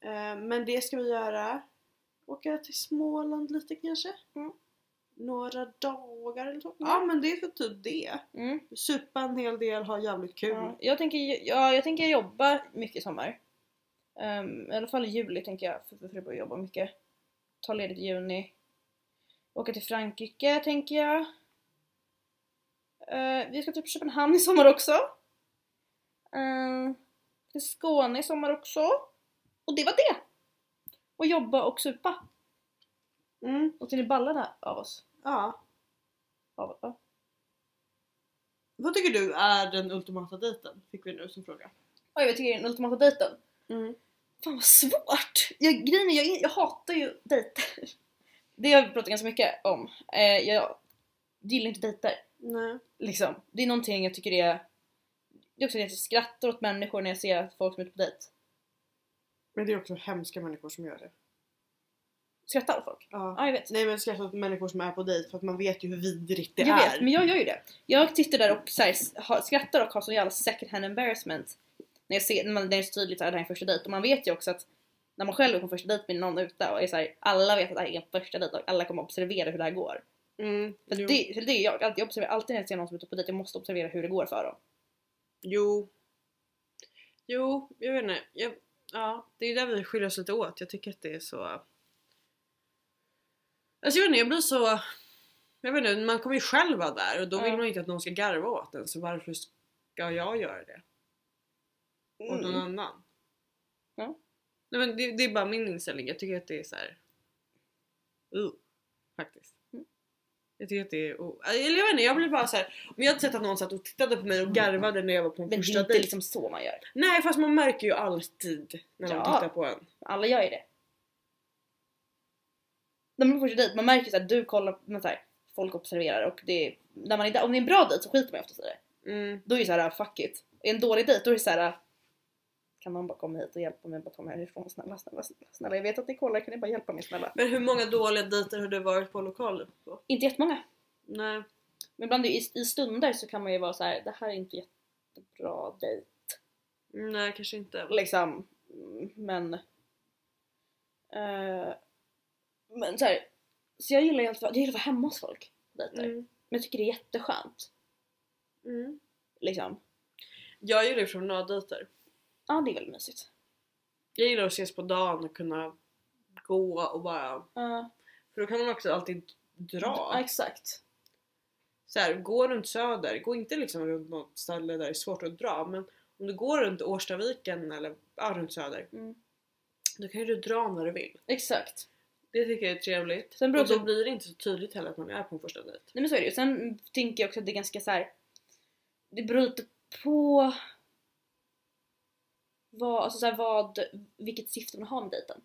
S1: Eh, men det ska vi göra. Åka till Småland lite kanske.
S2: Mm.
S1: Några dagar eller så. Ja men det är för typ det.
S2: Mm.
S1: Supa en hel del, ha jävligt kul.
S2: Ja, jag, tänker, ja, jag tänker jobba mycket i sommar. Um, I alla fall i juli tänker jag, för, för, för att börja jobba mycket. Ta ledigt i juni. Åka till Frankrike tänker jag. Eh, vi ska typ till Köpenhamn i sommar också. Eh, till Skåne i sommar också. Och det var det! Och jobba och supa.
S1: Mm,
S2: Och till ni ballade av oss.
S1: ja.
S2: Av, av.
S1: Vad tycker du är den ultimata dejten? Fick vi nu som fråga.
S2: Oj, jag tycker det är den ultimata dejten.
S1: Mm.
S2: Fan vad svårt! Jag, grejen är, jag, jag hatar ju dejter. Det har vi pratat ganska mycket om. Eh, jag gillar inte dejter.
S1: Nej.
S2: Liksom. Det är någonting jag tycker är... Det är också det att jag skrattar åt människor när jag ser att folk som är ute på dejt.
S1: Men det är också hemska människor som gör det.
S2: Skrattar åt folk?
S1: Ja.
S2: Ja, jag vet.
S1: Nej men skratta åt människor som är på dejt för att man vet ju hur vidrigt det
S2: jag
S1: är.
S2: vet, men jag gör ju det. Jag sitter där och så här, s- har- skrattar och har sån jävla second hand embarrassment. När jag ser, när man, det är så tydligt att det här är en första dejt. Och man vet ju också att när man själv är på första dejt med någon ute och är så här, alla vet att det här är en första dejt och alla kommer observera hur det här går.
S1: Mm,
S2: För
S1: jo.
S2: Alltså, det, för det är jag, alltid, jag observerar alltid när jag ser någon som är ute på dejt, jag måste observera hur det går för dem.
S1: Jo. Jo, jag vet inte. Jag, ja, det är där vi skiljer oss lite åt. Jag tycker att det är så... Alltså jag vet inte, jag blir så... Jag vet inte, man kommer ju själv vara där och då vill
S2: Ja.
S1: man ju inte att någon ska garva åt en så varför ska jag göra det? Åt
S2: Mm.
S1: någon annan?
S2: Ja.
S1: Nej men det, det är bara min inställning. Jag tycker att det är så här. Uh, faktiskt.
S2: Mm.
S1: Jag tycker att det är... o- Eller jag vet inte, jag blir bara så här. Om jag hade sett att någon satt och tittade på mig och garvade när jag var på en
S2: Mm. Men det är
S1: första
S2: inte
S1: dejt.
S2: liksom så man gör.
S1: Nej fast man märker ju alltid när
S2: Ja.
S1: någon tittar på en.
S2: Alla gör ju det. När man är på första dejt, man märker ju så här, du kollar, men så här, folk observerar och det är, när man är där, om det är en bra dejt så skiter man ju oftast i det.
S1: Mm.
S2: Då är det så här, fuck it. Är en dålig dejt, då är det så här. Kan någon bara komma hit och hjälpa mig bara ta mig härifrån? Snälla, snälla, snälla, snälla. Jag vet att ni kollar, kan ni bara hjälpa mig snälla?
S1: Men hur många dåliga dejter har du varit på lokal? På?
S2: Inte jättemånga.
S1: Nej.
S2: Men ibland i, i stunder så kan man ju vara så här, det här är inte jättebra dejt.
S1: Nej kanske inte.
S2: liksom. mm, Men... eh, men så här, Så jag gillar ju alltid, jag gillar att vara hemma hos folk på dejter.
S1: Mm.
S2: Men jag tycker det är jätteskönt.
S1: Mm.
S2: Liksom.
S1: Jag gillar ju promenaddejter.
S2: Ja, det är väldigt mysigt.
S1: Jag gillar att ses på dagen och kunna gå och bara...
S2: Ja,
S1: För då kan man också alltid
S2: Ja,
S1: dra.
S2: exakt.
S1: Så här, gå runt söder, gå inte liksom runt något ställe där det är svårt att dra men om du går runt Årstaviken eller ja, runt söder
S2: Mm.
S1: då kan ju du dra när du vill.
S2: Exakt.
S1: Det tycker jag är trevligt.
S2: Sen beror
S1: och då
S2: också-
S1: blir det inte så tydligt heller att man är på en första dejt.
S2: Nej men så är det ju. Sen tänker jag också att det är ganska så här. Det beror lite på vad, alltså så här, vad, vilket syfte man har med dejten.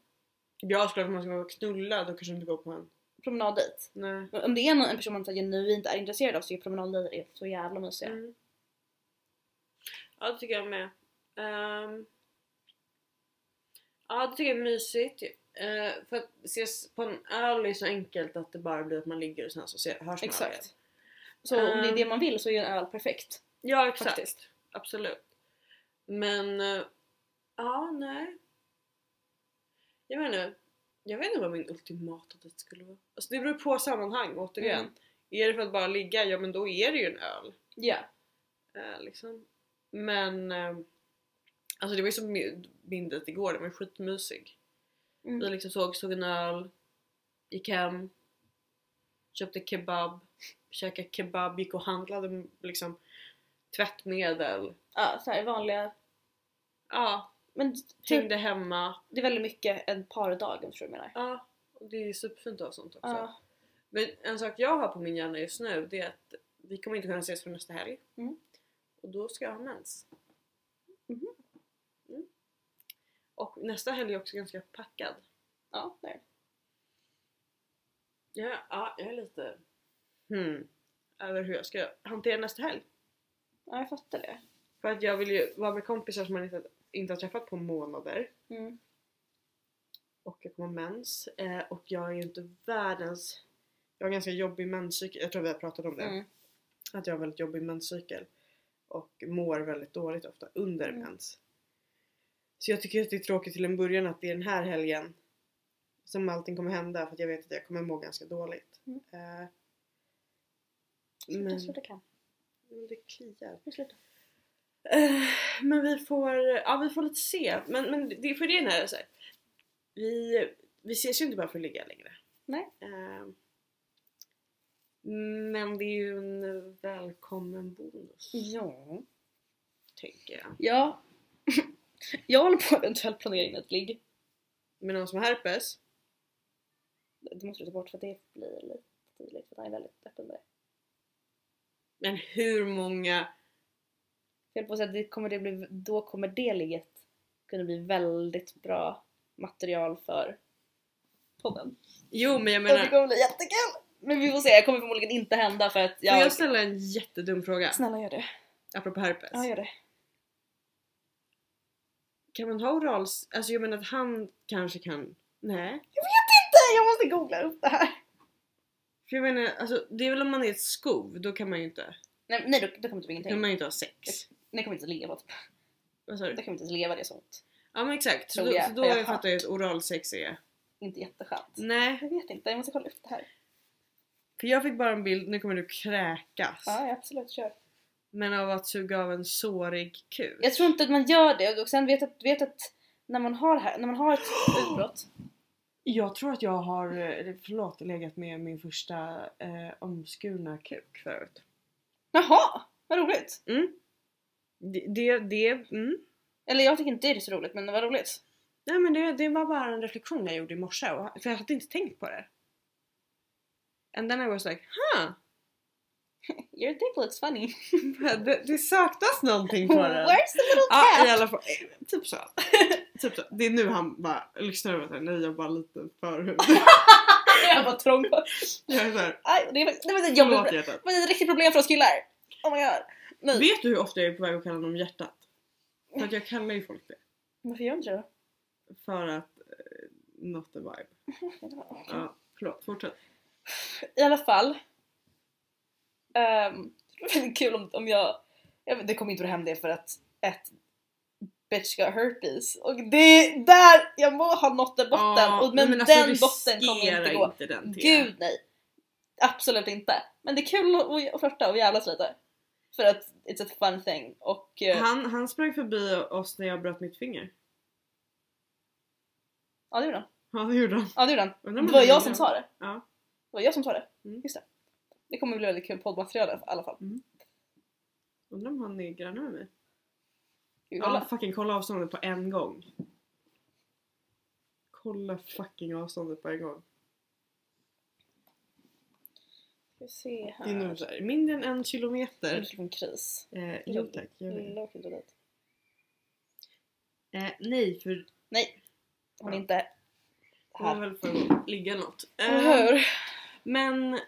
S1: Jag skulle om man ska gå och knulla då kanske inte går på en.
S2: Promenaddejt.
S1: Nej.
S2: Men Om det är någon, en person man så här, genuint är intresserad av så är promenaddejter så jävla mysiga.
S1: Mm. Ja det tycker jag med. Ehm. ja det tycker jag är mysigt. Eh, för att ses på en öl är så enkelt att det bara blir att man ligger och sen så ser, hörs man aldrig igen.
S2: Exakt. Eh. Så om det är det man vill så är ju en öl perfekt.
S1: Ja exakt.
S2: Faktiskt.
S1: Absolut. Men... eh, Ja, nej. Jag menar, jag vet inte vad min ultimata dejt skulle vara. Alltså det beror på sammanhang återigen.
S2: Mm.
S1: Är det för att bara ligga, ja men då är det ju en öl.
S2: Ja.
S1: Eh, liksom. Men... Eh, alltså det var ju som min- min dejt igår, den var ju skitmysig.
S2: Mm.
S1: Vi liksom såg, såg en öl, gick hem, köpte kebab, käkade kebab, gick och handlade liksom tvättmedel.
S2: Ja, så här vanliga.
S1: Ja,
S2: Men typ,
S1: Hängde hemma.
S2: det är väldigt mycket en pardag om du förstår vad jag menar.
S1: Ja, och det är superfint att ha sånt också.
S2: Ja.
S1: Men en sak jag har på min hjärna just nu det är att vi kommer inte kunna ses förrän nästa helg.
S2: Mm.
S1: Och då ska jag ha mens.
S2: Mhm.
S1: Mm. Och nästa helg är jag också ganska packad.
S2: Ja, där.
S1: Ja, ja, jag är lite hmm, över hur jag ska hantera nästa helg.
S2: ja, jag fattar det.
S1: För att jag vill ju vara med kompisar som man inte, inte har träffat på månader.
S2: Mm.
S1: och jag kommer ha mens eh, och jag är ju inte världens... Jag har ganska jobbig menscykel, jag tror vi har pratat om det.
S2: Mm.
S1: Att jag har väldigt jobbig menscykel och mår väldigt dåligt ofta under
S2: Mm.
S1: mens. Så jag tycker att det är tråkigt till en början att det är den här helgen som allting kommer hända för att jag vet att jag kommer må ganska dåligt.
S2: Mm.
S1: Eh,
S2: Sluta,
S1: men,
S2: sluta kan.
S1: men det kliar.
S2: Nu sluta.
S1: Eh, men vi får, ja vi får lite se. Men, men det är för det är när så här, vi, vi ses ju inte bara för att ligga längre.
S2: Nej.
S1: Eh, men det är ju en välkommen bonus
S2: Ja.
S1: tänker jag.
S2: Ja. jag håller på att eventuellt planera in ett ligg.
S1: Med någon som har herpes?
S2: Det måste du ta bort för det blir lite tydligt för han är väldigt öppen med det.
S1: Men hur många?
S2: Jag höll på att säga att det kommer det bli, då kommer det ligget kunna bli väldigt bra material för podden.
S1: Jo men jag
S2: Och det
S1: menar,
S2: kommer bli jättekul! Men vi får se, det kommer förmodligen inte hända för att
S1: får
S2: jag...
S1: jag ställa en jättedum fråga?
S2: Snälla gör det.
S1: Apropå herpes.
S2: Ja, gör det.
S1: Kan man ha oral... Alltså jag menar att han kanske kan... Nej.
S2: Nej, jag måste googla upp det här.
S1: För jag menar, alltså, det är väl om man är ett skov, då kan man ju inte,
S2: Nej, nej då, då kommer typ
S1: då
S2: ingenting.
S1: kan
S2: Nej,
S1: man ju inte ha sex.
S2: jag kommer inte ens leva typ.
S1: Vad sa du?
S2: Jag kommer inte ens leva det är sånt.
S1: Ja men exakt, så
S2: Tror
S1: då,
S2: jag.
S1: så då
S2: Har jag
S1: fattar jag att oralsex är...
S2: Inte jätteskönt.
S1: Nej,
S2: Jag vet inte, jag måste kolla upp det här.
S1: för jag fick bara en bild, nu kommer du kräkas.
S2: Ja, ja, absolut, kör.
S1: Men av att suga av en sårig kuk.
S2: Jag tror inte att man gör det och sen vet att, vet att när man har det här, när man har ett utbrott.
S1: Jag tror att jag har, eh, förlåt, legat med min första eh, omskurna kuk förut.
S2: Jaha, vad roligt!
S1: Det, det, det mm.
S2: Eller jag tycker inte det är så roligt men vad roligt.
S1: Nej men det, det var bara en reflektion jag gjorde i morse, och, för jag hade inte tänkt på det. And then I was like, huh!
S2: Your dick looks funny.
S1: Det, det saknas någonting på den.
S2: Where's the little
S1: Ja i
S2: cat?
S1: alla fall, eh, typ så. typ så. Det är nu han bara, lyssnar du på Nej jag bara lite förhud.
S2: jag var trång.
S1: jag är såhär,
S2: Aj, det, var- det var ett jobbigt
S1: förlåt
S2: problem.
S1: hjärtat.
S2: Det var ett riktigt problem för oss killar. Oh my god. Nej.
S1: Vet du hur ofta jag är på väg att kalla dem hjärtat? För att jag kallar ju folk det.
S2: Varför gör du det då?
S1: För att, eh, not the vibe. Ja, förlåt, fortsätt.
S2: I alla fall. Um, det är kul om, om jag, jag vet, Det kommer inte att hända det för att ett bitch got herpes. Och det är där jag må ha nått en botten.
S1: Ja,
S2: och, men,
S1: alltså,
S2: den
S1: riskera
S2: botten kommer inte gå.
S1: inte den till.
S2: Gud nej! Absolut inte. Men det är kul att- att flörta och jävlas lite. För att it's a fun thing. Och eh,
S1: Han, han sprang förbi oss när jag bröt mitt finger.
S2: ja det gjorde han.
S1: Ja det gjorde han.
S2: Ja det gjorde han.
S1: Undrar om
S2: Det var
S1: han
S2: jag
S1: gjorde
S2: som
S1: det.
S2: sa det.
S1: Ja.
S2: Det var jag som sa det.
S1: Mm.
S2: Just det. Det kommer bli väldigt kul poddmaterial i alla fall.
S1: Undrar om han är granne med mig.
S2: Gud,
S1: Ja,
S2: kolla.
S1: fucking kolla avståndet på en gång. Kolla fucking avståndet på en gång.
S2: Ska vi se här.
S1: Det är nog så här, mindre än en
S2: Nu
S1: kilometer.
S2: Mm. skulle få en kris.
S1: Eh, jo tack, jag vet.
S2: Lilla åker inte dit.
S1: Eh, nej, för
S2: Hon är inte
S1: hon var
S2: här.
S1: väl för att ligga något. Eh,
S2: Eller hur?
S1: men...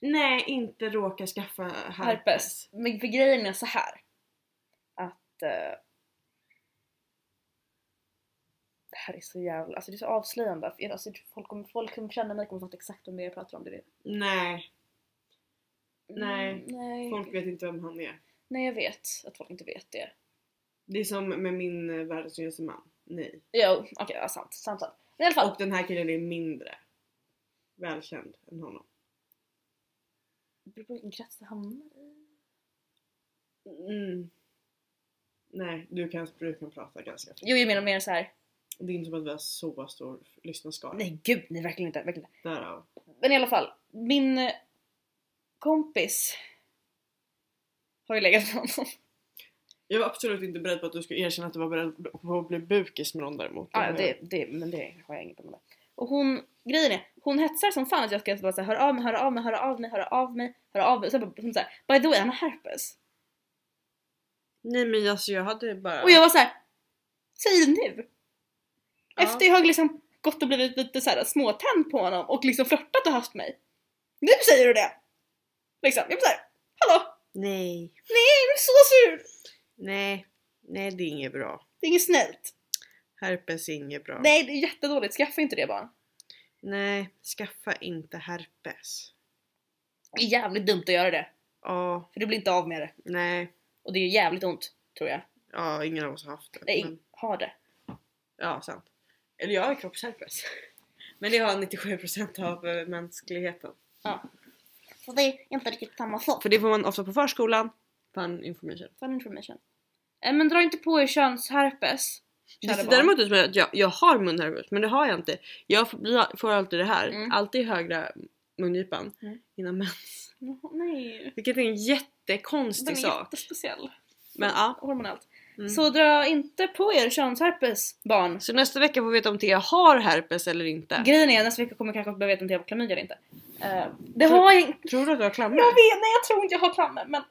S1: Nej, inte råka skaffa herpes.
S2: Herpes. Men för grejen är så här. Att... eh, det här är så jävla... Alltså det är så avslöjande. För, alltså, folk, kommer, folk kommer känna mig kommer fatta exakt om det jag pratar om. Det är det.
S1: Nej, Nej.
S2: Mm, nej.
S1: folk vet inte vem han är.
S2: nej, jag vet att folk inte vet det.
S1: Det är som med min eh, världens snyggaste man. Nej.
S2: Jo, okej, ja, sant. Sant, sant. Men i alla fall.
S1: Och den här killen är mindre välkänd än honom.
S2: Det beror på vilken krets det hamnar i.
S1: Mm. Nej, du kan, du kan prata ganska fritt.
S2: Jo, jag menar mer så här.
S1: Det är inte som att vi har så stor lyssnarskara.
S2: Nej gud, nej verkligen inte. Verkligen inte.
S1: Därav.
S2: Men i alla fall, min eh, kompis har ju legat med honom.
S1: Jag var absolut inte beredd på att du skulle erkänna att du var beredd på att bli bukis med någon däremot.
S2: Ja, det, det, men det har jag inget problem med. Och hon, grejen är, hon hetsar som fan att jag ska bara såhär höra av mig, höra av mig, höra av mig, höra av mig, höra av mig. Och sen bara hon såhär, by the way han har herpes.
S1: Nej men alltså jag hade bara...
S2: Och jag var såhär, säg det nu!
S1: Ja.
S2: Efter jag har liksom gått och blivit lite såhär småtänd på honom och liksom flörtat och haft mig. Nu säger du det! Liksom, jag var såhär, hallå!
S1: Nej.
S2: Jag blev så sur!
S1: Nej. Nej det är inget bra.
S2: Det är inget snällt.
S1: Herpes är inget bra.
S2: Nej det är jättedåligt, skaffa inte det barn.
S1: Nej, skaffa inte herpes.
S2: Det är jävligt dumt att göra det.
S1: Ja,
S2: För du blir inte av med det.
S1: nej.
S2: Och det är jävligt ont, tror jag.
S1: Ja, ingen av oss har haft det.
S2: Nej,
S1: men-
S2: ha det.
S1: Ja, sant. Eller jag har kroppsherpes. Men det har 97% av eh, mänskligheten.
S2: Så det är inte riktigt samma sak.
S1: För det får man ofta på förskolan. Fun information.
S2: Fun information. Eh, Men dra inte på er könsherpes.
S1: Det
S2: kära
S1: ser
S2: barn.
S1: däremot ut som att jag, jag har munherpes men det har jag inte. Jag får- jag får alltid det här.
S2: Mm.
S1: Alltid högra mungipan
S2: Mm.
S1: innan mens.
S2: Jaha, Nej.
S1: Vilket är en jättekonstig
S2: Den är
S1: sak.
S2: jättespeciell.
S1: Men ja.
S2: Hormonellt.
S1: Mm. Så,
S2: Så dra inte på er könsherpes barn.
S1: nästa vecka får vi veta om Thea har herpes eller inte.
S2: Grejen är nästa vecka kommer jag kanske
S1: Typ.
S2: behöva veta om jag har klamydia eller inte. Eh, Det har jag inte.
S1: Tror du att du har klamydia?
S2: Jag vet, nej jag tror inte jag har klammer men